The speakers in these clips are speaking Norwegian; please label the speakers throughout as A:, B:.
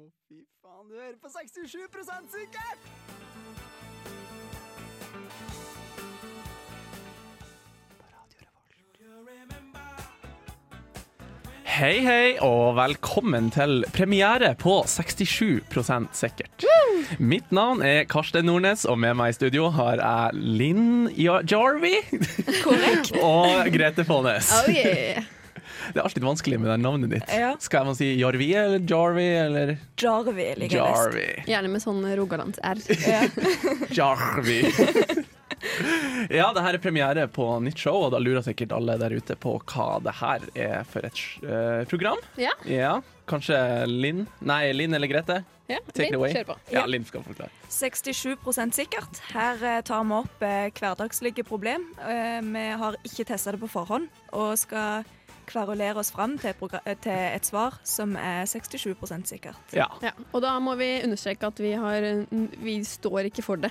A: Å, fy faen, du hører på 67 sikkert!
B: Hei, hei, og velkommen til premiere på 67 sikkert. Mitt navn er Karsten Nordnes, og med meg i studio har jeg Linn Ja- Jarvi
C: Korrekt.
B: og Grete Faanes.
C: Oh yeah.
B: Det er alltid vanskelig med det navnet ditt.
D: Ja.
B: Skal jeg må si Jarvi eller Jarvi eller
D: Jarvi ligger best.
B: Jarvi?
C: Gjerne med sånn rogalands-r.
B: Jarvi. Ja, det her er premiere på nytt show, og da lurer sikkert alle der ute på hva det her er for et eh, program.
C: Ja.
B: Ja, kanskje Linn? Nei, Linn eller Grete?
C: ja.
B: Take it away.
C: Kjør på.
B: Ja, Linn skal forklare.
D: 67 sikkert. Her eh, tar vi opp eh, hverdagslige problem. Eh, vi har ikke testa det på forhånd, og skal kverulere oss fram til, et progra- eh, til et svar som er 67 sikkert.
B: Ja.
C: Ja. Og da må vi understreke at vi har Vi står ikke for det.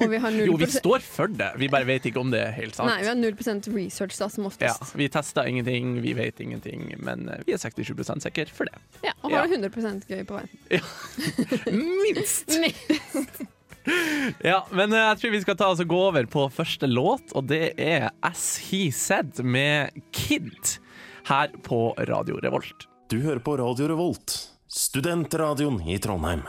C: Og vi har null
B: Jo, vi
C: prosent-
B: står for det, vi bare vet ikke om det er helt sant.
C: Nei, vi har 0 research da, som
B: ja,
C: oftest.
B: vi tester ingenting, vi vet ingenting, men eh, vi er 67 sikre for det.
C: Ja. og har
B: Ja.
C: 100 gøy på veien.
B: Minst!
C: Nei.
B: Ja, men eh, jeg tror vi skal ta oss og gå over på første låt, og det er As He Said med Kid her på Radio Revolt.
E: Du hører på Radio Revolt, studentradioen i Trondheim.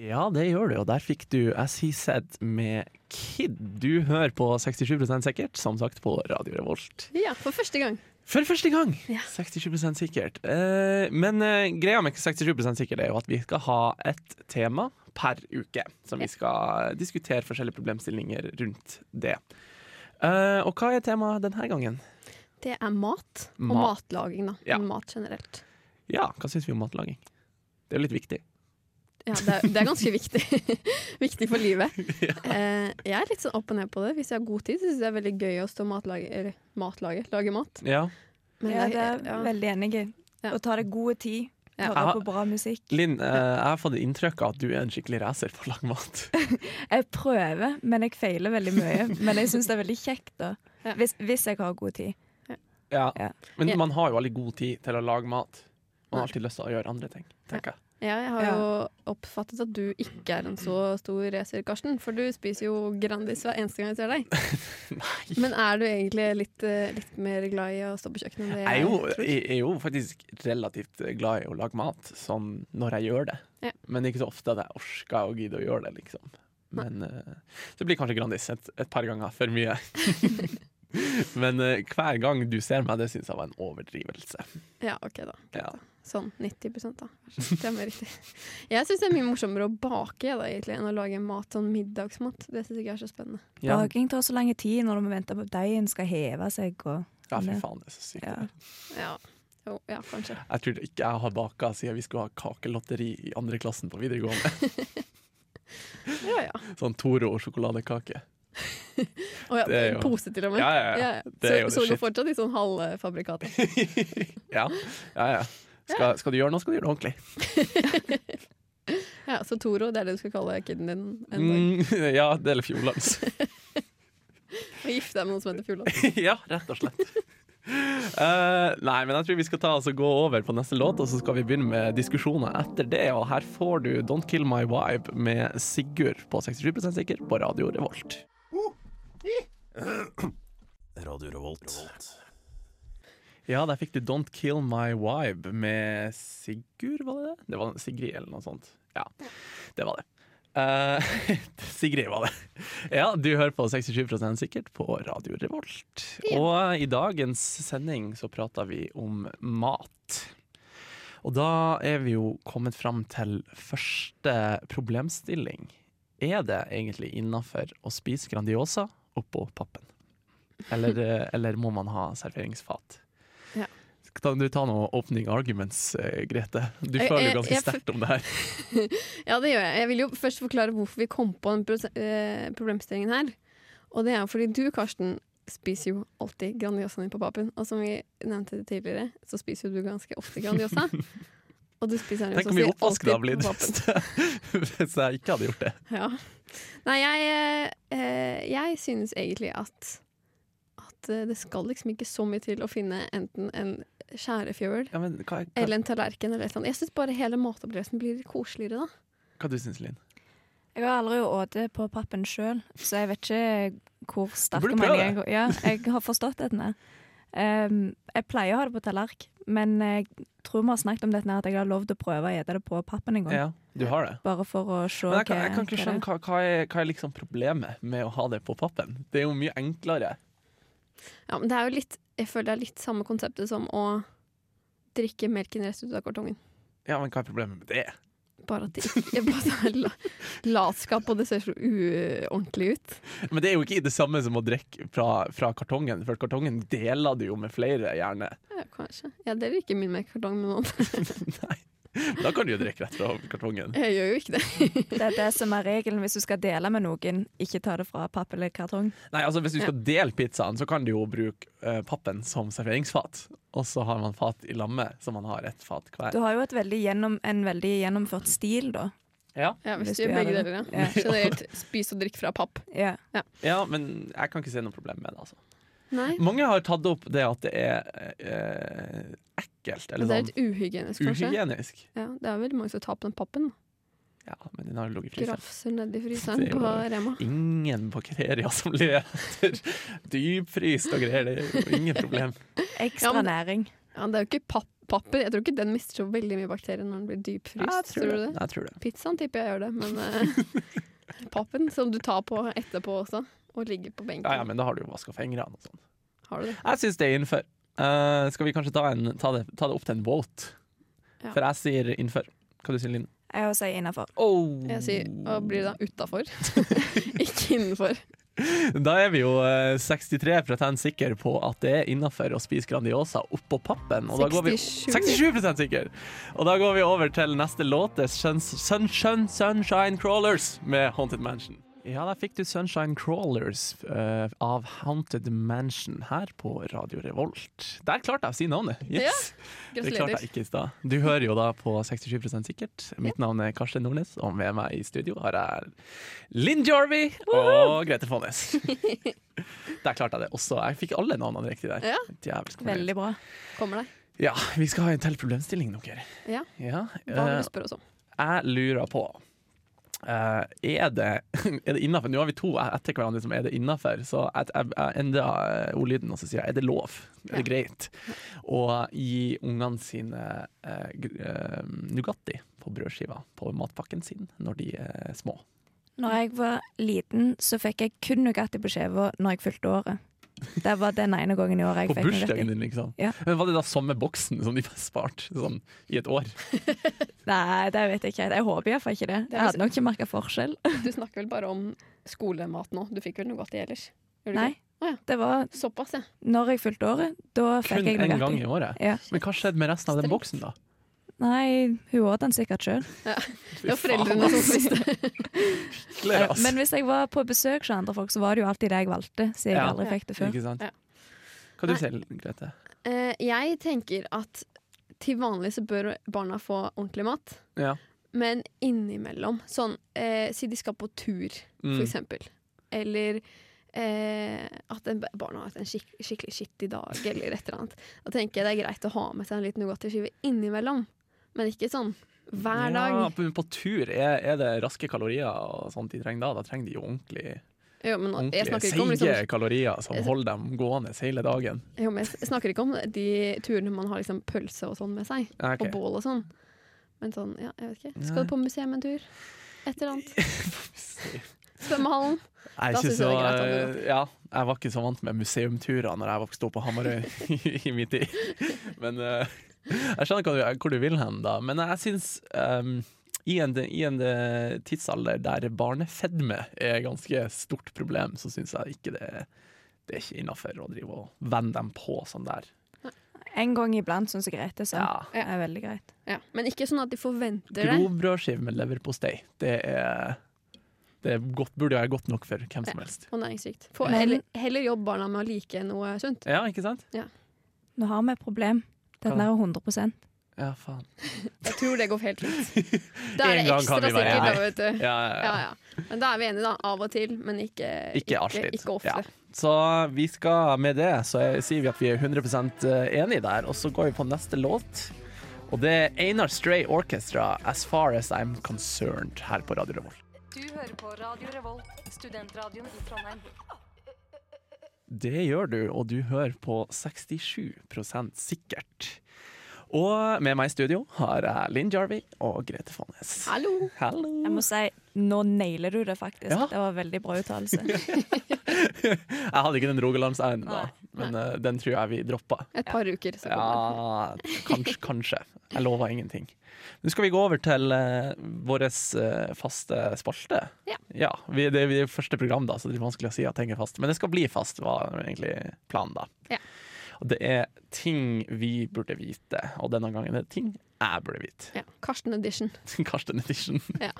B: Ja, det gjør du, og der fikk du As He Said med Kid. Du hører på 67 sikkert, som sagt, på Radio Revolt.
C: Ja, for første gang.
B: For første gang!
C: Ja.
B: 67 sikkert. Eh, men eh, greia med 67 sikkert er jo at vi skal ha et tema per uke. Som vi skal diskutere forskjellige problemstillinger rundt det. Eh, og hva er temaet denne gangen?
C: Det er mat, og
B: Mat.
C: matlaging, da.
B: Ja.
C: Men Mat generelt.
B: Ja, hva syns vi om matlaging? Det er jo litt viktig.
C: Ja, det er, det er ganske viktig. viktig for livet. Eh, jeg er litt sånn opp og ned på det. Hvis jeg har god tid, så syns jeg det er veldig gøy å stå og matlage, eller matlage, lage mat.
B: Ja.
C: Men
D: Ja, det er
C: ja.
D: veldig enig i.
C: Ja.
D: Å ta deg god tid,
C: Ja.
D: høre på bra musikk.
B: Linn, eh, jeg har fått inntrykk av at du er en skikkelig racer på å lage mat.
D: Jeg prøver, men jeg feiler veldig mye. Men jeg syns det er veldig kjekt, da.
C: Ja.
D: Hvis, hvis jeg har god tid.
B: Ja.
D: Ja.
B: Men
C: Ja.
B: man har jo veldig god tid til å lage mat. Man har alltid lyst til å gjøre andre ting, tenker jeg.
C: Ja, jeg har
D: Ja.
C: jo oppfattet at du ikke er en så stor racer, Karsten. For du spiser jo Grandis hver eneste gang jeg ser deg. Men er du egentlig litt, eh, litt mer glad i å stå på kjøkkenet enn det
B: Jeg er, jo, jeg er jo faktisk relativt eh, glad i å lage mat, sånn når jeg gjør det.
C: Ja.
B: Men det er ikke så ofte at jeg orker og gidder å gjøre det, liksom. Men eh, så blir kanskje Grandis et, et par ganger for mye. Men eh, hver gang du ser meg, det syns jeg var en overdrivelse.
C: Ja, ok da.
B: Ja.
C: Sånn 90 da. Vær så snill, Det er mer riktig. Jeg syns det er mye morsommere å bake jeg, da, egentlig, enn å lage mat sånn middagsmat. Det syns jeg er så spennende.
B: Ja.
D: Baking tar så lang tid når du må vente på at deigen skal heve seg. Og,
B: ja, fy faen, det er så sykt.
D: ja.
C: Ja, jo, ja kanskje.
B: Jeg tror ikke jeg har baka siden vi skulle ha kakelotteri i andre klassen på videregående.
C: Ja, ja.
B: Sånn Toro sjokoladekake.
C: Å ja,
B: Det er jo-
C: pose til og med.
B: Ja, ja, ja. Det
C: Så,
B: er jo det
C: så det
B: shit.
C: går fortsatt i sånn halvfabrikater.
B: Ja, ja, ja. Skal, skal du gjøre noe, skal du gjøre det ordentlig.
C: Ja, så Toro, det er det du skal kalle kiden din en dag.
B: Mm, ja, det gjelder Fjordlands.
C: Og gifte deg med noen som heter Fjordland.
B: ja, rett og slett. Eh, nei, men jeg tror vi skal ta oss og gå over på neste låt, og så skal vi begynne med diskusjoner etter det. Og her får du Don't Kill My Vibe med Sigurd på 67 sikker på Radio Revolt.
E: Radio Revolt.
B: Ja, der fikk du Don't Kill My Vibe med Sigurd, var det det? Det var Sigrid eller noe sånt. Ja, det var det. Eh, Sigrid var det. Ja, du hører på 67 sikkert på Radio Revolt. Og i dagens sending så prater vi om mat. Og da er vi jo kommet fram til første problemstilling. Er det egentlig innafor å spise Grandiosa oppå pappen? Eller, eh, eller må man ha serveringsfat?
C: Ja.
B: Kan du ta noen opening arguments, eh, Grete? Du
C: Jeg-
B: føler
C: jeg-
B: jo ganske
C: jeg-
B: sterkt om det her.
C: Ja, det gjør jeg. Jeg vil jo først forklare hvorfor vi kom på den pros- eh, problemstillingen her. Og det er jo fordi du, Karsten, spiser jo alltid Grandiosaen din på papen. Og som vi nevnte tidligere, så spiser jo du ganske ofte Grandiosa. Og du spiser den jo
B: Tenk
C: så å
B: hvor mye
C: si
B: oppvask det har
C: alltid
B: blitt
C: på pappen.
B: hvis jeg ikke hadde gjort det.
C: Ja. Nei, jeg, eh, jeg synes egentlig at, at at eh, det skal liksom ikke så mye til å finne enten en skjærefjøl
B: Ja, men hva, hva,
C: eller en tallerken eller et eller annet. Jeg syns bare hele matopplevelsen blir koseligere da.
B: hva du syns du, Linn?
D: Jeg har aldri åtet på pappen sjøl, så jeg vet ikke hvor sterk
B: burde prøve
D: meningen jeg, ja, jeg har forstått denne. Um, jeg pleier å ha det på tallerk, men jeg tror vi har snakket om dette her, at jeg har lovd å prøve å ete det på pappen en gang.
B: Ja, du har det.
D: Bare for å se
B: Men jeg kan, jeg kan ikke
D: hva
B: skjønne hva, hva, er, hva er liksom problemet med å ha det på pappen. Det er jo mye enklere.
C: Ja, men det er jo litt Jeg føler det er litt samme konseptet som å drikke melken rett ut av kartongen.
B: Ja, men hva er problemet med det?
C: Bare at det ikke bare det er la, latskap, og det ser så uordentlig ut.
B: Men det er jo ikke det samme som å drikke fra, fra kartongen, for kartongen deler du jo med flere, gjerne.
C: Ja, kanskje. Jeg deler ikke min melkekartong med noen.
B: Nei. Da kan du jo drikke rett fra kartongen.
C: Jeg gjør jo ikke det.
D: Det er det som er regelen hvis du skal dele med noen. Ikke ta det fra papp eller kartong.
B: Nei, altså Hvis du skal dele pizzaen, så kan du jo bruke eh, pappen som serveringsfat. Og så har man fat i lamme, så man har ett fat hver.
D: Du har jo et veldig gjennom, en veldig gjennomført stil, da.
B: Ja.
C: Ja, hvis,
D: Hvis
C: du
D: du
C: gjør
D: gjør
C: begge
D: det.
C: deler, ja.
D: Ja.
C: Generelt spis og drikk fra papp.
D: Ja.
B: ja, men jeg kan ikke se noe problem med det. altså
C: Nei,
B: Mange har tatt opp det at det er eh, ekkelt, eller
C: det er
B: sånn
C: litt uhygienisk, kanskje.
B: uhygienisk.
C: Ja, det er veldig mange som tar på den pappen.
B: Ja, men den har jo ligget i fryseren.
C: Grafser nedi
B: Det
C: fryseren
B: er jo
C: på
B: det.
C: Rema.
B: Ingen bakterier som lever etter dypfryst og greier. Det er jo ingen problem.
D: Ekstra
C: Ja, men-
D: næring.
C: Ja, det er jo ikke papp papper. Jeg tror ikke den mister så veldig mye bakterier når den blir dypfryst. tror du det?
B: Jeg tror det.
C: Pizzaen tipper jeg gjør det, men eh, pappen som du tar på etterpå også, og ligger på benken.
B: Ja, ja, men da har du jo vaska fingrene og sånn.
C: Har du det?
B: Jeg syns det er innenfor. Eh, skal vi kanskje ta, en, ta, det, ta det opp til en vote?
C: Ja.
B: For jeg sier innenfor. Hva du sier Linn?
D: Jeg vil si innafor.
B: Oh.
C: Jeg sier å bli da utafor, ikke innenfor.
B: Da er vi jo eh, 63 sikre på at det er innafor å spise Grandiosa oppå pappen. Og da går vi
C: 67.
B: 67 sikker! Og da går vi over til neste låt. Det er Sun, Sun, Sun, Sunshine Crawlers med Haunted Mansion. Ja, der fikk du Sunshine Crawlers eh, av Haunted Mansion her på Radio Revolt. Der klarte jeg å si navnet! Yes. det klarte
C: Gratulerer.
B: jeg ikke i stad. Du hører jo da på 67 sikkert. Mitt navn er Karsten Nordnes, og med meg i studio har jeg Linn Jarvey og Grete Fonnes. Der klarte jeg det også. Jeg fikk alle navnene riktig der.
C: Ja.
B: Djevelsk fornøyd.
D: Veldig bra.
C: Kommer deg.
B: Ja, vi skal ha en til problemstilling, dere.
C: Ja. Hva vil
B: eh,
C: du spørre oss om?
B: jeg lurer på eh, Er det, er det innafor? Nå har vi to etter hverandre som er det innafor, så jeg, jeg, jeg endrer eh, ordlyden og så sier jeg, er det lov? Er det greit å gi ungene sine eh, gr- eh, Nugatti på brødskiva på matpakken sin når de er små?
D: Når jeg var liten, så fikk jeg kun Nugatti på skjeva når jeg fylte året. Det var den ene gangen i året jeg
B: På
D: fikk
B: bursdagen
D: Nugatti.
B: din, liksom?
D: Ja.
B: Men Var det da samme boksen som de var spart sånn, i et år?
D: Nei, det vet jeg ikke. helt. Jeg håper iallfall ikke det.
C: er liksom-
D: Jeg hadde nok ikke merka forskjell.
C: Du snakker vel bare om skolemat nå? Du fikk vel noe godt i ellers? Gjorde du
D: Nei.
C: ikke? Å ja.
D: Det var
C: Såpass, ja.
D: når jeg fylte året. Da fikk
B: Kun
D: jeg
B: én
D: Nugatti.
B: gang i året?
D: Ja.
B: Men hva skjedde med resten av den
C: Strengt.
B: boksen, da?
D: Nei, hun åt den sikkert sjøl.
C: Det var foreldrene som spiste.
B: Skikkelig, ass.
D: Eh, Men hvis jeg var på besøk hos andre folk, så var det jo alltid det jeg valgte. Så jeg
B: Ja.
D: aldri fikk det før.
B: Ikke sant?
C: Ja.
B: Hva du
C: Nei.
B: sier du, Grete?
C: Eh, jeg tenker at til vanlig så bør barna få ordentlig mat,
B: Ja.
C: men innimellom sånn eh, Si de skal på tur,
B: Mm.
C: for eksempel. Eller eh, at en, barna har hatt en skik skikkelig skittig dag, eller et eller annet. Da tenker jeg det er greit å ha med seg en liten Nugatti-skive innimellom, men ikke sånn hver dag.
B: Ja, på, på tur er, er det raske kalorier og sånt de trenger da. Da trenger de jo ordentlig,
C: Jo, men nå, jeg
B: ordentlig
C: snakker ikke om
B: seige
C: liksom,
B: kalorier som
C: Jeg-
B: holder dem gående hele dagen.
C: Jo, men jeg snakker ikke om de turene man har liksom pølse og sånn med seg.
B: Ja, ok.
C: Og bål og sånn. Men sånn, ja, jeg vet ikke.
B: Nei.
C: Skal du på museum en tur? Et eller annet. Svømmehallen.
B: Jeg, er
C: Da
B: ikke
C: synes jeg
B: så,
C: det er greit at
B: ja, jeg var ikke så vant med museumturer når jeg vokste opp på Hamarøy i, i min tid. Men eh, jeg skjønner hva du, hvor du vil hen, da. Men jeg syns ehm, i en, i en eh, tidsalder der barnefedme er et ganske stort problem, så syns jeg ikke det, det er ikke innafor å drive og vende dem på sånn der.
D: En gang iblant, syns jeg Grete sa.
B: Ja.
D: Det er veldig greit.
C: Ja. Men ikke sånn at de forventer det.
B: Grovbrødskive med leverpostei, det er det er godt, burde være godt nok for hvem som
C: Ja.
B: helst.
C: Og næringsrikt. Få
D: Men-
C: heller, heller jobb barna med å like noe sunt.
B: Ja, ikke sant?
D: Nå har vi et problem. Den
B: Hva?
D: der er 100
B: Ja, faen.
C: Jeg tror det går helt fint. Da er
B: En
C: det
B: gang
C: ekstra
B: kan vi være
C: sikkert, da,
B: enige.
C: vet du.
B: Ja, ja,
C: Ja,
B: ja.
C: ja. Men da er vi enige, da. Av og til, men ikke,
B: Ikke alltid.
C: Ikke ofte.
B: Ja. Så vi skal med det, så jeg, sier vi at vi er 100 enige der, og så går vi på neste låt. Og det er Einar Stray Orchestra, 'As Far As I'm Concerned', her på Radio Revolt.
F: Du hører på Radio Revolt, studentradioen i Trondheim.
B: Det gjør du, og du hører på 67 sikkert. Og med meg i studio har jeg Linn Jarvi og Grete Fonnes.
C: Hallo!
B: Hallo.
D: Jeg må si, nå nailer du det faktisk.
B: Ja.
D: Det var veldig bra uttalelse.
B: Jeg hadde ikke den rogalandsæren da, men eh, den tror jeg vi droppa.
C: Et par uker, så kommer det.
B: Ja, kanskje, kanskje. Jeg lover ingenting. Nå skal vi gå over til uh, vår eh, faste spalte.
C: Ja.
B: vi, det er vi første program, da, så det er vanskelig å si at ting er fast. Men det skal bli fast, var egentlig planen, da.
C: Ja.
B: Og det er ting vi burde vite, og denne gangen er det ting jeg burde vite.
C: Ja. Karsten Edition.
B: Karsten Edition.
C: Ja.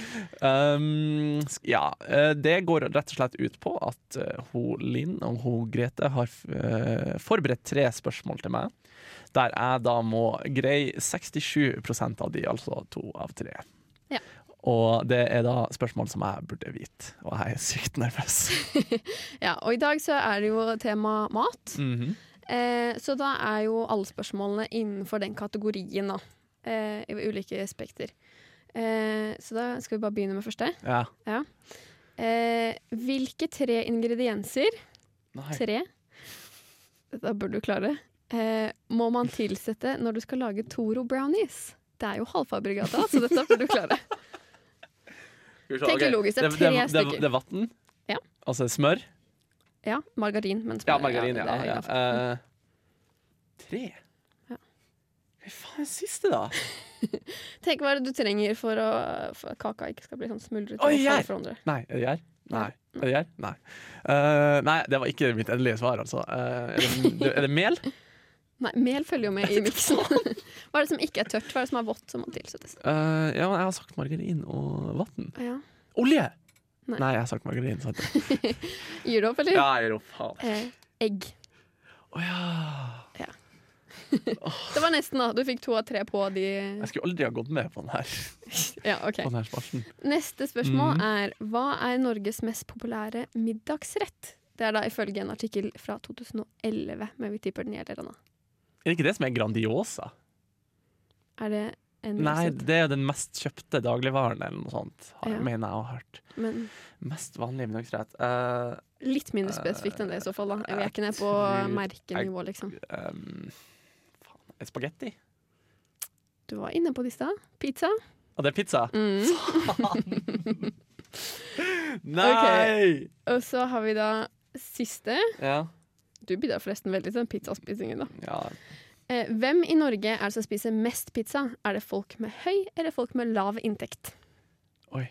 B: um, sk- ja. eh, Det går rett og slett ut på at eh, hun Linn og hun Grete har eh, forberedt tre spørsmål til meg, der jeg da må greie 67 av de, altså to av tre.
C: Ja.
B: Og det er da spørsmål som jeg burde vite, og jeg er sykt nervøs.
C: Ja, og i dag så er det jo tema mat.
B: Mhm.
C: Eh, så da er jo alle spørsmålene innenfor den kategorien, da. Eh, I ulike spekter. Eh, så da skal vi bare begynne med første.
B: Ja.
C: Eh, hvilke tre ingredienser
B: Nei.
C: Tre Dette burde du klare. Eh, må man tilsette når du skal lage Toro brownies? Det er jo halvfabrikata, så dette burde du klare. Tenk
B: Ok,
C: logisk, det er
B: det,
C: tre
B: det, det,
C: stykker.
B: det er vann,
C: Ja.
B: altså smør
C: Ja, margarin. Men
B: Ja, margarin, ja.
C: det er
B: ja,
C: innenfor.
B: Eh, tre?
C: Ja.
B: Hva faen er det siste, da?
C: Tenk hva er det du trenger for, å, for at kaka ikke skal bli sånn smuldret.
B: Oi,
C: og falle
B: jeg-
C: fra hverandre.
B: Nei, er det gjær? Nei. Er det gjær? Nei. Eh, nei, det var ikke mitt endelige svar, altså. Eh, er, det, er det mel?
C: Nei, mel følger jo med i miksen. hva er det som ikke er tørt? Hva er det som er vått som må tilsettes?
B: Eh, ja, men jeg har sagt margarin og vann.
C: Ja.
B: Olje!
C: Nei.
B: Nei. jeg har sagt margarin. Sant?
C: Gir du opp, eller?
B: Ja, jeg gir opp. Faen.
C: Eh, egg.
B: Å ja.
C: Det var nesten, da. Du fikk to av tre på de
B: Jeg skulle aldri ha gått med på den her,
C: Ja, OK.
B: på den her spalten.
C: Neste
B: Mm.
C: spørsmål er Hva er Norges mest populære middagsrett? Det er da ifølge en artikkel fra 2011, men vi tipper den gjelder ennå.
B: Er det ikke det som er Grandiosa?
C: Er det en
B: Nei,
C: resept?
B: det er jo den mest kjøpte dagligvaren, eller noe sånt, har-
C: Ja.
B: mener jeg å ha hørt.
C: Men
B: Mest vanlig middagsrett. Eh,
C: litt mindre spesifikt enn det i så fall, da. Vi er ikke nede på
B: jeg tror-
C: merkenivå, liksom.
B: um, faen, Spagetti?
C: Du var inne på det i stad. Pizza.
B: Og det er pizza?
C: Mm.
B: Nei!
C: Og så har vi da siste.
B: Ja.
C: Du bidrar forresten veldig til den pizzaspisingen, da.
B: ja.
C: Eh, hvem i Norge er det som spiser mest pizza? Er det folk med høy eller folk med lav inntekt?
B: Oi.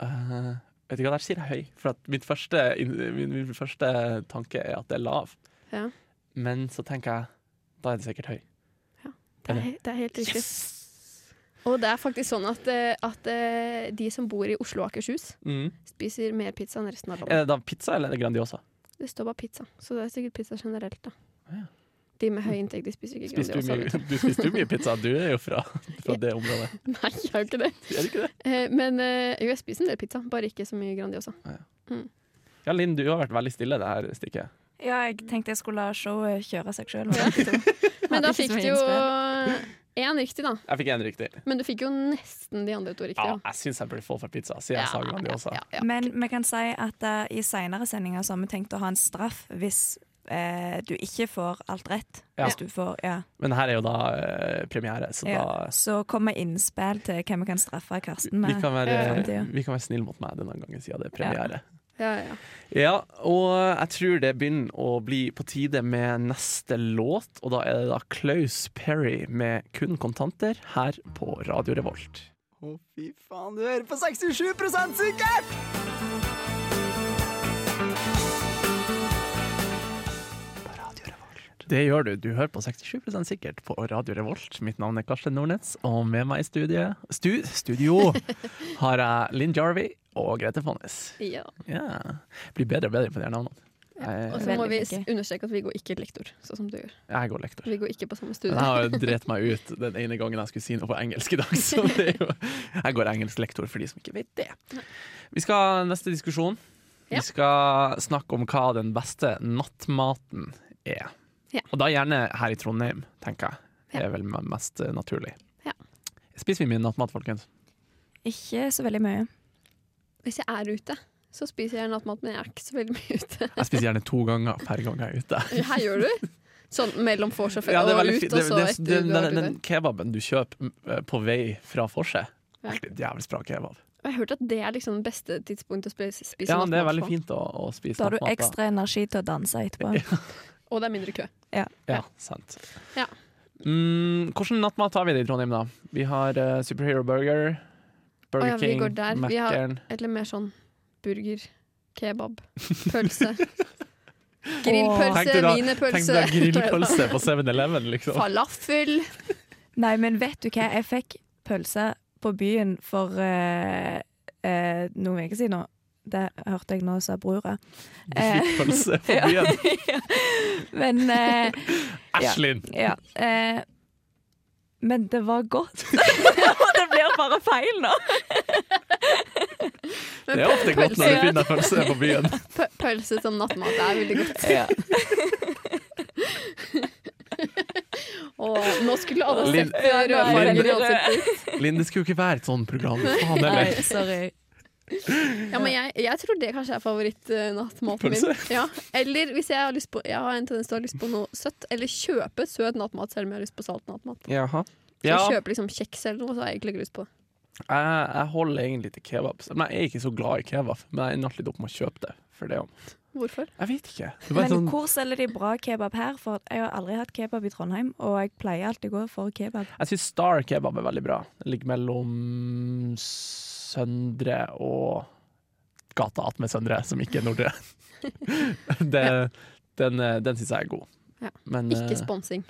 B: Eh, vet du hva, der sier jeg høy. For at mitt første, min, min første tanke er at det er lav.
C: Ja.
B: Men så tenker jeg da er det sikkert høy.
C: Det er, he- det er helt riktig. Og det er faktisk sånn at, eh, at eh, de som bor i Oslo og Akershus,
B: Mm.
C: spiser mer pizza enn resten av landet.
B: Er det da pizza eller er det Grandiosa?
C: Det står bare pizza, så det er sikkert pizza generelt. da.
B: Ja.
C: De med høy inntekt de spiser ikke
B: Spiste du,
C: Grandiosa. liksom.
B: mye,
C: vet du.
B: du spiste jo mye pizza, du er jo fra, fra det området.
C: Nei, jeg har jo ikke det.
B: Er det ikke det?
C: Eh, Men eh, jo, jeg spiser en del pizza, bare ikke så mye Grandiosa.
B: Ja, Linn, du har vært veldig stille det her stikket.
D: Ja, jeg tenkte jeg skulle la showet kjøre seg sjøl.
C: Men da
D: Hadde ikke
C: fikk
D: så mye
C: du jo én riktig, da.
B: Jeg fikk én riktig.
C: Men du fikk jo nesten de andre to
B: Ja,
C: riktige. da.
B: jeg syns jeg burde få for pizza, siden jeg sa Grandiosa.
C: ja, ja.
D: Men vi kan si at eh, i seinere sendinger så har vi tenkt å ha en straff hvis eh, du ikke får alt rett.
B: Ja.
D: Hvis du får, ja.
B: Men her er jo da eh, premiere, så
D: ja.
B: da
D: Så kommer innspill til hvem vi kan straffe Karsten
B: Vi
D: med.
B: kan være,
D: Ja.
B: vi kan være snille mot meg denne gangen, siden det er premiere.
C: Ja, ja.
B: Ja, og jeg tror det begynner å bli på tide med neste låt, og da er det da Klaus Perry med Kun kontanter her på Radio Revolt.
A: Å, fy faen, du hører på 67 sikkert!
B: Det gjør du. Du hører på 67 sikkert på Radio Revolt. Mitt navn er Karsten Nordnetz, og med meg i studiet stu, Studio har jeg Linn Jarvi og Grete Fonnes.
C: ja.
B: Ja. Blir bedre og bedre på de her navnene. Jeg,
C: Og så må
D: Veldig
C: vi
D: flinke.
C: understreke at Viggo ikke er lektor, sånn som du gjør.
B: jeg går lektor.
C: Viggo ikke på samme
B: Men
C: studie.
B: jeg har jo drept meg ut den ene gangen jeg skulle si noe på engelsk i dag. Så det er jo, jeg går engelsk lektor for de som ikke vet det. Vi skal neste diskusjon.
C: Ja.
B: Vi skal snakke om hva den beste nattmaten er.
C: Ja.
B: Og da gjerne her i Trondheim, tenker jeg. Det
C: Ja.
B: er vel mest eh, naturlig.
C: Ja.
B: Spiser vi mye nattmat, folkens?
D: Ikke så veldig mye.
C: Hvis jeg er ute, så spiser jeg nattmat, men jeg er ikke så veldig mye ute.
B: Jeg spiser gjerne to ganger per gang jeg er ute.
C: Her gjør du? Sånn mellom vors og fe-
B: Ja, det er
C: og
B: veldig
C: ut,
B: fint.
C: og så
B: Det- det-
C: etter
B: det-
C: du
B: den,
C: har vært
B: den,
C: ute.
B: kebaben du kjøper mm, eh, på vei fra Forset,
C: Ja.
B: er en jævlig bra kebab.
C: Og Jeg har hørt at det er liksom det beste tidspunktet å spe- spise
B: Ja, det er
C: nattmat
B: veldig
C: på.
B: fint å, å spise
D: Da har du
B: nattmat, da.
D: ekstra energi til å danse etterpå.
C: Og det er mindre kø.
B: Ja,
C: Ja.
B: sant.
C: Ja.
B: Mm, hvordan nattmat har vi det i Trondheim, da? Vi har eh, Superhero Burger, Burger
C: Å ja, vi
B: King,
C: går der. Vi har-
B: Mækkern
C: Eller mer sånn burger, kebab, pølse. Grillpølse,
B: Tenkte da- Tenk
C: wienerpølse.
B: deg grillpølse på 7-Eleven, liksom.
C: Falafel.
D: Nei, men vet du hva? Jeg fikk pølse på byen for eh, eh, noen uker siden. nå. Det hørte jeg nå sa brura. Eh,
B: Grillpølse på byen.
D: men eh, ja.
B: Æsj, Linn!
D: ja. eh, men det var godt. Og det blir bare feil nå.
B: Det er ofte godt når
C: pølse-
B: du finner pølse på byen.
C: Pø- Pølse som nattmat det er veldig godt. Og nå skulle alle
B: Linn-
C: sett eh, rødfarger i ansiktet.
B: Linn, det skulle jo ikke være et sånt sånn program. Faen heller.
D: sorry.
C: Ja, men jeg, jeg tror det kanskje er favorittnattmaten min.
B: Pølse?
C: Ja. Eller hvis jeg har lyst på Jeg har en tendens til å ha lyst på noe søtt. Eller kjøpe søt nattmat selv om jeg har lyst på salt nattmat.
B: Jaha.
C: Så
B: Ja,
C: jeg
B: jeg,
C: kjøper liksom kjeks eller noe, så har jeg egentlig ikke lyst på det.
B: jeg holder egentlig til kebab. Men jeg er ikke så glad i kebab, men jeg ender litt opp med å kjøpe det. For det om.
C: Hvorfor?
B: Jeg vet ikke. Det er bare
D: Men
B: sånn,
D: hvor selger de bra kebab her? For jeg har aldri hatt kebab i Trondheim, og jeg pleier alltid å gå for kebab.
B: jeg syns Star kebab er veldig bra. Den ligger mellom Søndre og gata attmed Søndre, som ikke er Nordre. det, Den, eh, den syns jeg er god.
C: Ja.
B: Men eh,
C: Ikke sponsing.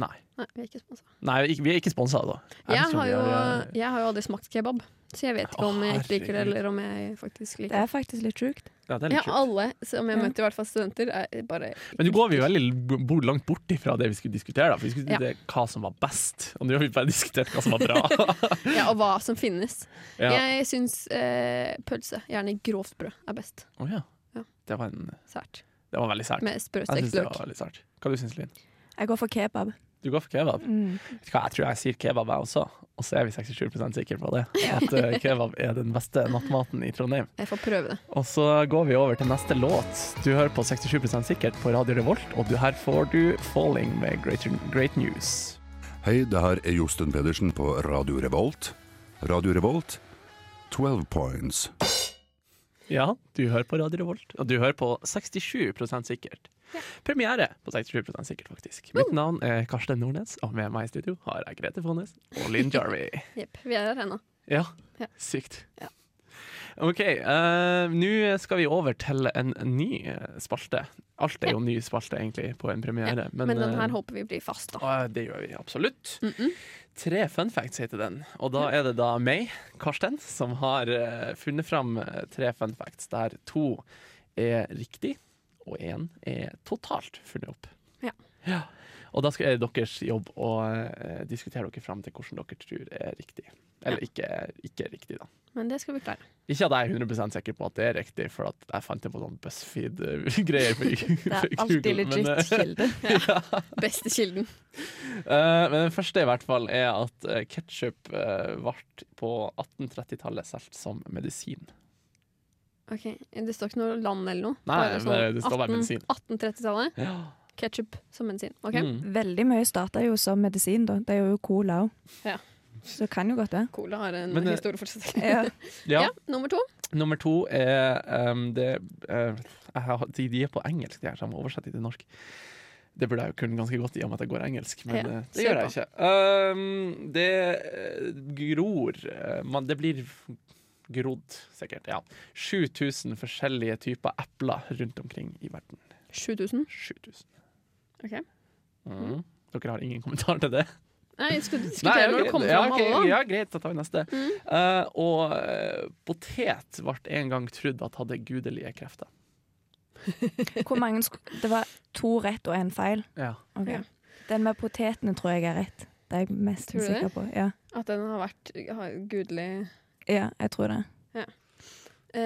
B: Nei.
C: Nei, vi er ikke sponsa.
B: nei ikke- vi er ikke sponsa, da. Jeg
C: Jeg
B: tror
C: har
B: vi
C: jo,
B: har, eh,
C: jeg har jo aldri smakt kebab, så jeg vet ikke
B: Å,
C: om jeg ikke liker det,
B: herregud.
C: eller om jeg faktisk
D: Det
C: liker det.
D: er faktisk litt sjukt.
B: ja, det er
C: Ja,
B: litt kult.
C: alle som jeg
D: Ja.
C: møter, i hvert fall studenter, er bare
B: Men nå går vi jo veldig b- bor langt bort ifra det vi skulle diskutere, da. For vi skulle
C: Ja.
B: diskutere hva som var best, og nå har vi bare diskutert hva som var bra.
C: Ja, og hva som finnes.
B: ja.
C: Jeg syns eh, pølse, gjerne grovt brød, er best.
B: Å ja.
C: Ja.
B: Det var, en,
C: Sært.
B: det var veldig sært.
C: Med
B: Jeg syns
C: sprøstekt
B: det
C: løk.
B: var veldig sært. Hva du syns du, Linn?
D: Jeg går for kebab.
B: Du går for kebab?
D: Mm.
B: Vet du hva, jeg tror jeg sier kebab, jeg også. Og så er vi 67 sikre på det. At eh, kebab er den beste nattmaten i Trondheim.
C: Jeg får prøve det.
B: Og så går vi over til neste låt. Du hører på 67 sikkert på Radio Revolt, og du her får du 'Falling' med Great, great News.
G: Hei, det her er Josten Pedersen på Radio Revolt. Radio Revolt, 12 points.
B: Ja, du hører på Radio Revolt, og du hører på 67 sikkert. Premiere på 67 sikkert, faktisk. Mitt navn er Karsten Nordnes, og med meg i studio har jeg Grete Fonnes og Linn Jarvey.
C: Jepp, vi er her ennå.
B: Ja,
C: Ja.
B: sykt.
C: Ja.
B: OK, eh, nå skal vi over til en ny eh, spalte. Alt er jo ny spalte, egentlig, på en premiere.
C: Men, den her
B: eh,
C: håper vi blir fast, da.
B: eh, det gjør vi absolutt. Tre fun facts heter den, og da er det da meg, Karsten, som har eh, funnet fram eh, tre fun facts der to er riktig, og én er totalt funnet opp.
C: Ja.
B: Ja. Og da skal er det deres jobb å eh, diskutere dere fram til hvordan dere tror er riktig. Eller ikke, ikke riktig, da.
C: Men det skal vi klare.
B: Ikke at jeg er 100 sikker på at det er riktig, for at jeg fant det på sånn BuzzFeed-greier.
D: Det er alltid legit kilde.
C: Beste kilden.
B: Eh, men den første i hvert fall er at uh, ketsjup ble på 1830-tallet solgt som medisin.
C: Ok, Det står ikke noe land eller noe?
B: Nei,
C: Bare
B: men eh, det står bare medisin.
C: 1830-tallet. Ketchup som medisin. Ok,
B: Mm.
D: Veldig mye starta jo som medisin, da. Det gjør jo cola òg.
C: Ja.
D: Så det kan jo godt det.
C: Cola har en
B: Men, eh,
C: historie fortsatt.
D: Ja.
B: Ja.
C: ja, nummer to.
B: Nummer to er ehm, det, eh, jeg har, de, de er på engelsk, de her, så jeg må oversette de til norsk. Det burde jeg jo kunne ganske godt i og med at jeg går engelsk, men
C: Ja,
B: eh, det
C: kjør
B: gjør jeg ikke. Ehm, det eh, gror eh, man, Det blir grodd, sikkert. Ja. 7000 forskjellige typer epler rundt omkring i verden.
C: 7000.
B: 7000.
C: Ok.
B: Mm. Dere har ingen kommentar til det?
C: Nei, vi skal diskutere
B: Nei,
C: når
B: ok.
C: det kommer
B: ja,
C: fram
B: ok.
C: alle. da.
B: Ja, greit, da tar vi neste.
C: Mm.
B: Eh, og eh, potet ble en gang trodd at hadde gudelige krefter.
D: Hvor mange sk det var to rett og én feil.
B: Ja.
D: Ok.
C: Ja.
D: Den med potetene tror jeg er rett. Det er jeg mest
C: Tror du det?
D: sikker på. Ja.
C: At den har vært har gudelig
D: ja, jeg tror det.
C: eh,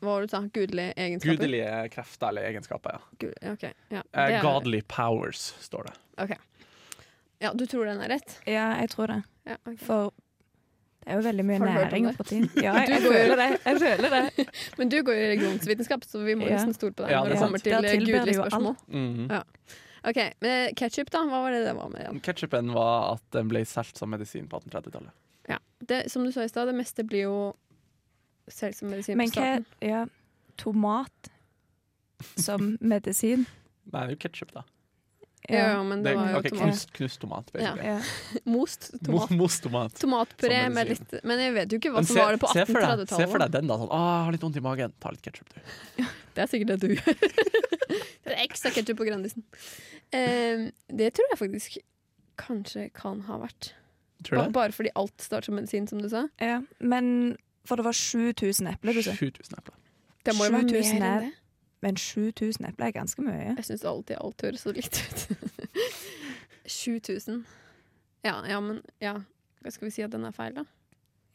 C: Hva var det du sa? Gudelige egenskaper?
B: Gudelige krefter eller egenskaper, ja.
C: Gud, ok, ja.
B: Eh,
C: det er-
B: godly powers, står det.
C: ok. Ja, du tror den er rett?
D: Ja, jeg tror det.
C: Ja, ok.
D: For det er jo veldig mye
C: Har du hørt om
D: næring og
C: det?
D: protein. Ja, jeg,
C: Du
D: jeg
C: går jo-
D: føler det. Jeg føler det.
C: Men du går jo i religionsvitenskap, så vi må
D: Ja.
C: nesten stole på deg
B: Ja,
C: når
B: det er
C: det kommer
D: sant.
C: til
D: Der
C: eh,
D: tilber
C: gudelige
D: det jo
C: spørsmål.
B: Mhm.
C: Ok, men Ketsjup, da? Hva var det det var med igjen?
B: Ketchupen var at den ble solgt som medisin på 1830-tallet.
C: Det, som du sa i stad, det meste blir jo selv som medisin på
D: Men hva
C: starten.
D: Ja, tomat som medisin.
B: Nei, det er jo ketsjup, da.
C: Ja, ja, men det,
B: Det er,
C: var jo
B: ok,
C: tomat.
B: knust, knust tomat,
C: Ja.
B: basically.
D: Ja.
C: Most tomat.
B: Mo- Most tomat.
C: Tomatpuré
B: Som
C: med
B: medisin.
C: litt Men jeg vet jo ikke hva
B: Men
C: som
B: se-
C: var det på
B: se for deg- Se for
C: 1830-tallet.
B: deg den, da. Sånn, «Å, jeg har litt vondt i magen. Ta litt ketsjup, du.
C: Det er sikkert det du gjør. det er ekstra ketsjup på Grandisen. Eh, det tror jeg faktisk kanskje kan ha vært.
B: Tror
C: Ba-
B: du det?
C: Bare fordi alt starter som medisin, som du sa.
D: Ja, men For det var 7000 epler, du sa.
B: 7000 epler.
C: Det må jo være
D: 7000
C: mer enn
D: er-
C: det.
D: Men 7000 epler er ganske mye.
C: Jeg syns alltid alt høres så likt ut. 7000. Ja, ja, men ja. Hva skal vi si at den er feil, da?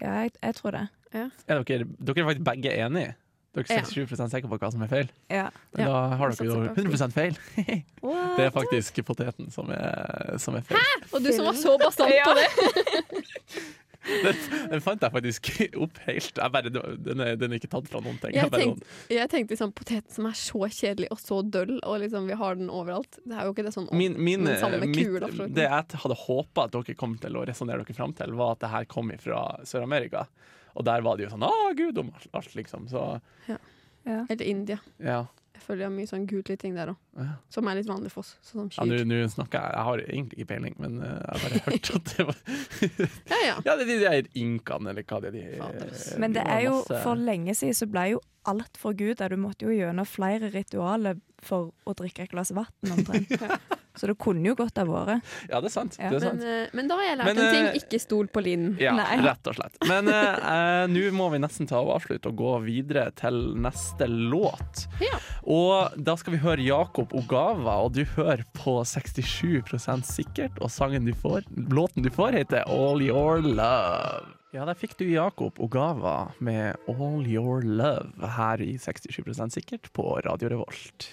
D: Ja, jeg, jeg tror det.
B: Er dere, dere er faktisk begge enige. Dere
C: Ja.
B: er 67 sikre på hva som er feil.
D: Ja.
B: Men
C: Ja.
B: Da har dere
C: Vi
B: jo
C: satser på
B: 100 feil. Det er faktisk poteten som er, som er feil.
C: Og du som var så bastant
D: Ja.
C: på det!
B: Den, den fant jeg faktisk opp helt. Jeg bare, den, er, den er ikke tatt fra noen ting.
C: Jeg
B: Jeg bare,
C: tenkte, jeg tenkte liksom, poteten som er så kjedelig og så døll, og liksom, vi har den overalt. Det er jo ikke det sånn
B: min, min, eh,
C: den samme
B: mitt,
C: kula, for så vidt.
B: det jeg hadde håpa at dere kom til å resonnere dere fram til, var at det her kom fra Sør-Amerika. Og der var det jo sånn Å, gud om alt, alt, liksom. Så
D: Ja.
C: Eller India.
B: ja.
C: Jeg føler jeg har mye sånn gudelige ting der òg,
B: Ja.
C: som er litt vanlig for oss. Sånn som
B: Ja, Nå
C: kyr.
B: nå snakker jeg Jeg har egentlig ikke peiling, men eh, jeg har bare hørt at det var
C: Ja, ja.
B: Ja, det er de der inkene, eller hva det er de
C: Fader, ass.
D: Men det
B: var
D: er jo
B: masse-
D: for lenge siden så ble jo alt forguda. Du måtte jo gjennom flere ritualer for å drikke et glass vann, omtrent. Så det kunne jo godt ha vært.
B: Ja, det er sant.
D: Ja.
B: Det er
C: Men,
B: sant.
C: eh, men da har jeg lært
B: Men,
C: en ting.
B: eh,
C: Ikke stol på linen.
B: Ja,
D: Nei.
B: rett og slett. Men eh, eh, nå må vi nesten ta og avslutte og gå videre til neste låt.
C: Ja.
B: Og da skal vi høre Jakob Ogava, og du hører på 67 sikkert, og sangen du får, låten du får, heter All Your Love. Ja, der fikk du Jakob Ogava med All Your Love her i 67 sikkert på Radio Revolt.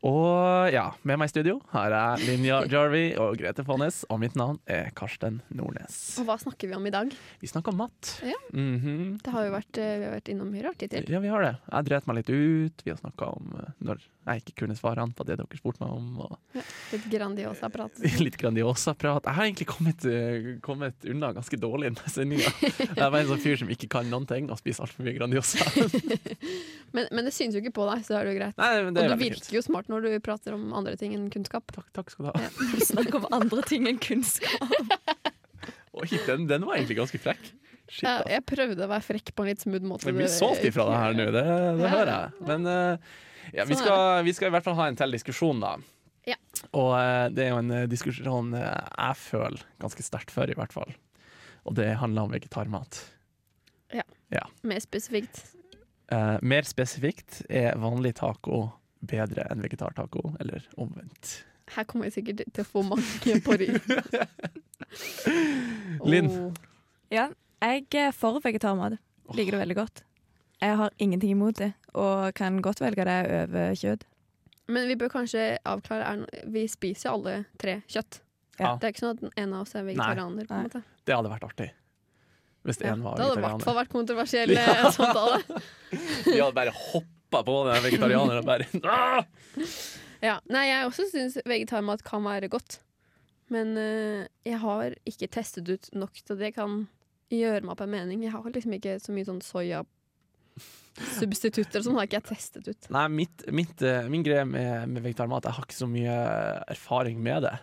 B: Og ja, med meg i studio har jeg Linja Jarvi og Grete Fonnes, og mitt navn er Karsten Nordnes.
C: Og hva snakker vi om i dag?
B: Vi snakker om mat.
C: Ja.
B: Mhm.
C: Det har jo vært, eh, vi har vært innom mye rart hittil.
B: ja, vi har det. Jeg dret meg litt ut. Vi har snakka om eh, når jeg ikke kunne svarene på det dere spurte meg om. Og
C: Litt Grandiosa-prat.
B: litt Grandiosa-prat. Jeg har egentlig kommet, eh, kommet unna ganske dårlig i denne sendinga. Jeg er bare en sånn fyr som ikke kan noen ting, og spiser altfor mye Grandiosa.
C: Men, men det syns jo ikke på deg, så da er det jo greit.
B: Nei, men det er
C: Og du
B: veldig fint.
C: virker jo smart når du prater om andre ting enn kunnskap.
B: Takk, takk skal du ha.
D: Snakk om andre ting enn kunnskap.
B: Oi, den, den var egentlig ganske frekk. Shit,
C: Jeg,
B: ass.
C: Eh, jeg prøvde å være frekk på en litt smooth måte.
B: Det blir solgt ifra det her nå, det, det hører jeg. Men eh, ja, vi,
C: Sånn er
B: skal, vi skal i hvert fall ha en til diskusjon, da.
C: Ja.
B: Og eh, det er jo en eh, diskusjon eh, jeg føler ganske sterkt for, i hvert fall. Og det handler om vegetarmat.
C: Mer spesifikt.
B: Eh, mer spesifikt er vanlig taco bedre enn vegetartaco, eller omvendt.
C: Her kommer jeg sikkert til å få mange på ry. Oh.
B: Linn.
C: Åh.
D: Ja, jeg er for vegetarmat. Liker det veldig godt. Jeg har ingenting imot det, og kan godt velge det over kjøtt.
C: Men vi bør kanskje avklare er, no- Vi spiser jo alle tre kjøtt.
D: Ja.
C: Det er ikke sånn at en av oss er vegetarianer. på en
D: Nei.
C: måte.
B: Det hadde vært artig. Hvis
C: Ja,
B: én var
C: det hadde i hvert fall
B: vegetarianer.
C: vært kontroversiell eh, samtale.
B: Vi hadde bare hoppa på den vegetarianeren og bare ah!
C: Ja. Nei, jeg også syns vegetarmat kan være godt. Men eh, jeg har ikke testet ut nok til at jeg kan gjøre meg opp en mening. Jeg har liksom ikke så mye sånn soyasubstitutter og sånn har ikke jeg testet ut.
B: Nei, mitt, mitt, eh, min greie med, med vegetarmat Jeg har ikke så mye eh, erfaring med det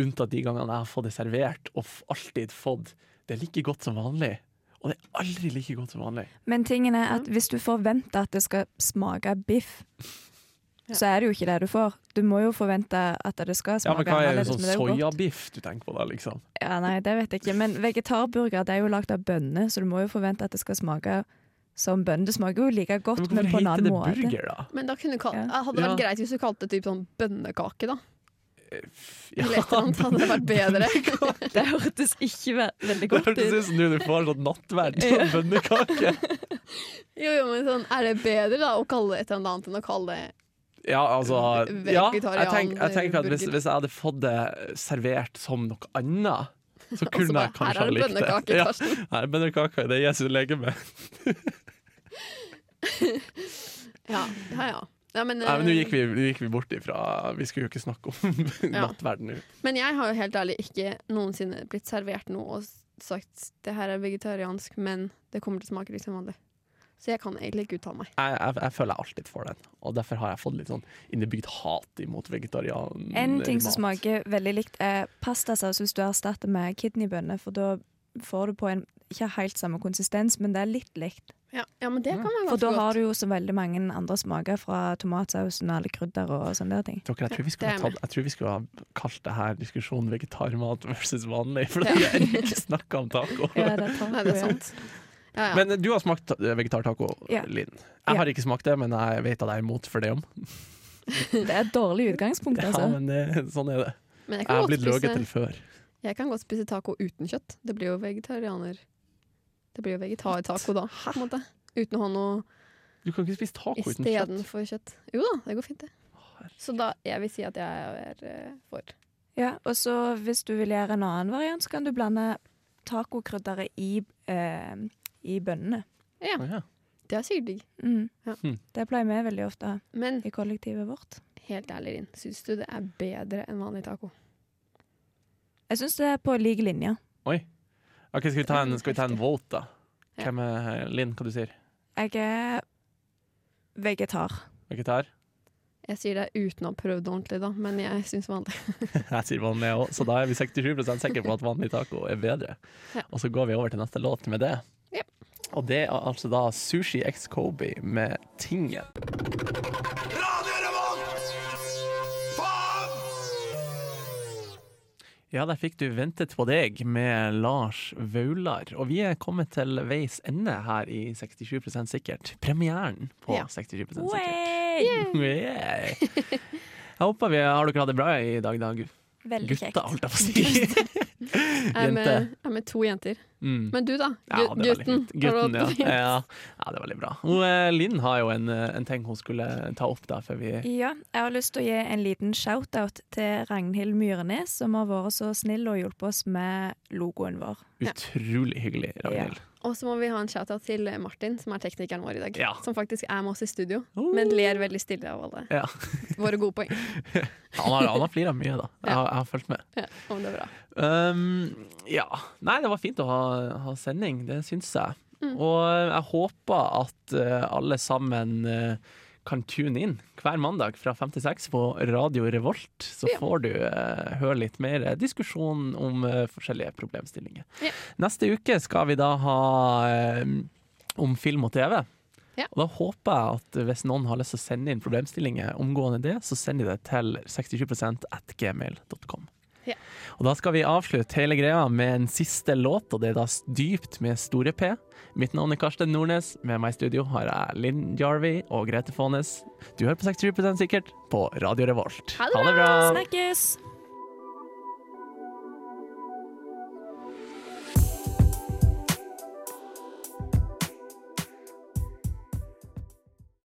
B: Unntatt de gangene jeg har fått det servert Og f- alltid fått Det er like godt som vanlig Og det er aldri like godt som vanlig
D: Men tingen er at hvis du forventer at det skal smake biff,
C: Ja.
D: så er det jo ikke det du får. Du må jo forvente at det skal
B: Ja,
D: smake
B: men hva er det
D: annerledes,
B: sånn
D: men det er jo godt.
B: sojabiff du tenker på da, liksom
D: Ja, nei, det vet jeg ikke. Men vegetarburger det er jo lagd av bønner, så du må jo forvente at det skal smake som bønn. Det smaker jo like godt,
B: Men
D: men på
B: hvorfor
D: en
B: heter
D: annen
B: det
D: måte.
B: burger, da?
C: Men da kunne du kalt, eh,
D: Ja.
C: hadde det vært
B: Ja.
C: greit hvis du kalte det typ sånn bønnekake, da.
B: Ja,
C: Eller et eller annet hadde det vært bedre.
D: Det hørtes ikke ve veldig
B: Det
D: godt ut.
B: hørtes ut som du får en sånn nattverd på en bønnekake.
C: Jo, jo, men sånn, Er det bedre da å kalle det et eller annet enn å kalle det
B: Ja, altså ja, jeg,
C: Vegetarian
B: tenk, jeg tenker at hvis,
C: burger.
B: hvis jeg hadde fått det servert som noe annet, så
C: Og så
B: kunne jeg
C: bare, Her
B: kanskje ha
C: er det
B: likt det.
C: bønnekake,
B: Ja,
C: Karsten.
B: her er bønnekaka i det Jesu legeme.
C: Ja, ja. ja. Nei, men,
B: Nei, men nå
C: eh,
B: gikk, vi- nå gikk vi bort ifra Vi skulle jo ikke snakke om
C: Ja.
B: nattverden nå.
C: Men jeg har jo helt ærlig ikke noensinne blitt servert noe og sagt det her er vegetariansk, men det kommer til å smake litt som vanlig. Så jeg kan egentlig ikke uttale meg.
B: Jeg, jeg, jeg føler jeg alltid får den, og derfor har jeg fått litt sånn innebygd hat imot vegetarian eh,
D: En ting som
B: mat.
D: smaker veldig likt, er pastasaus hvis du erstatter med kidneybønner. For da får du på en ikke helt samme konsistens, men det er litt likt.
C: Ja, ja men det kan være ganske
D: For da har
C: godt.
D: du jo så veldig mange andre smaker fra tomatsausen og alle krydder og sånne der ting.
B: Dere, jeg, tror vi skulle
C: det
B: ha
C: er
B: tatt, jeg tror vi skulle ha kalt det her diskusjonen vegetarmat versus vanlig, for det er ikke snakk om taco.
D: Ja, det tar
C: Nei, det er
D: jo-
C: sant. Ja, ja.
B: Men eh, du har smakt ta- vegetartaco,
D: Ja.
B: Linn.
D: Ja.
B: Jeg har ikke smakt det, men jeg vet at jeg er imot for det om.
D: Det er et dårlig utgangspunkt,
B: Ja,
D: altså.
B: men eh, sånn er det.
C: Men jeg
B: Jeg
C: kan,
B: har
C: godt
B: blitt løyet til
C: spise,
B: før.
C: jeg kan godt spise taco uten kjøtt. Det blir jo vegetarianer. Det blir jo vegetartaco da, på en måte. Uten å ha noe
B: Du kan ikke spise taco uten kjøtt.
C: istedenfor kjøtt. Jo da, det går fint, det. Så da, jeg vil si at jeg er eh, for.
D: Ja, og så hvis du vil gjøre en annen variant, så kan du blande tacokrydderet i, eh, i bønnene.
C: Ja,
B: Å, ja.
C: det er sikkert digg.
D: Mm.
C: Ja.
B: Mm.
D: Det pleier vi veldig ofte å ha
C: Men
D: i kollektivet vårt.
C: helt ærlig, Linn, syns du det er bedre enn vanlig taco?
D: Jeg syns det er på lik linje.
B: Ok, skal vi ta en, skal vi ta en
C: Heftig.
B: vote, da?
C: Ja.
B: Hvem er Linn, hva du sier?
D: Jeg er vegetar.
B: Vegetar?
C: Jeg sier det uten å ha prøvd det ordentlig, da, men jeg syns vanlig.
B: Jeg sier vanlig jeg også, så da er vi 67 sikre på at vanlig taco er bedre.
C: Ja.
B: Og så går vi over til neste låt med det.
C: Jep.
B: Og det er altså da Sushi X Kobe med Tingen. Ja, der fikk du 'Ventet på deg' med Lars Vaular. Og vi er kommet til veis ende her i 67 sikkert. Premieren på
C: Ja.
B: 67 sikkert.
D: Way!
B: Yeah. Jeg håper vi har dere hatt det bra i dag, da,
D: Veldig
B: Gutta,
D: kjekt.
B: holdt jeg på å si.
C: Jeg er, med,
B: Jente.
C: jeg er med to jenter.
B: Mm.
C: Men du, da?
B: Ja,
C: Gu-
B: det er veldig
C: gutten.
B: fint. Gutten,
C: Har du-
B: ja. ja. Ja, det er veldig bra. Og, eh, Linn har jo en, eh, en ting hun skulle ta opp da, før vi
D: Ja, jeg har lyst til å gi en liten shout-out til Ragnhild Myrenes, som har vært så snill og hjulpet oss med logoen vår.
B: Utrolig hyggelig, Ragnhild.
C: Og så må vi ha en shout-out til Martin, som er teknikeren vår i dag.
B: Ja.
C: Som faktisk er med oss i studio,
B: Oh.
C: men ler veldig stille av alle
B: Ja.
C: våre gode poeng.
B: Han har, han har flira mye, da. Jeg har, jeg har fulgt med.
C: Ja, om det er bra.
B: Um, ja. Nei, det var fint å ha, ha sending, det syns jeg. Og jeg håper at eh, alle sammen eh, kan tune inn hver mandag fra fem til seks på Radio Revolt. Så
C: Ja.
B: får du eh, høre litt mer eh, diskusjon om eh, forskjellige problemstillinger.
C: Ja.
B: Neste uke skal vi da ha eh, om film og TV.
C: Ja.
B: Og da håper jeg at hvis noen har lyst til å sende inn problemstillinger omgående det, så send de det til 67 at gmail.com.
C: Ja.
B: Og da skal vi avslutte hele greia med en siste låt, og det er da Dypt med store P. Mitt navn er Karsten Nordnes. Med meg i studio har jeg Linn Jarvi og Grete Faanes. Du hører på 67 sikkert på Radio Revolt.
C: Ha det bra!
B: bra!
D: Snakkes!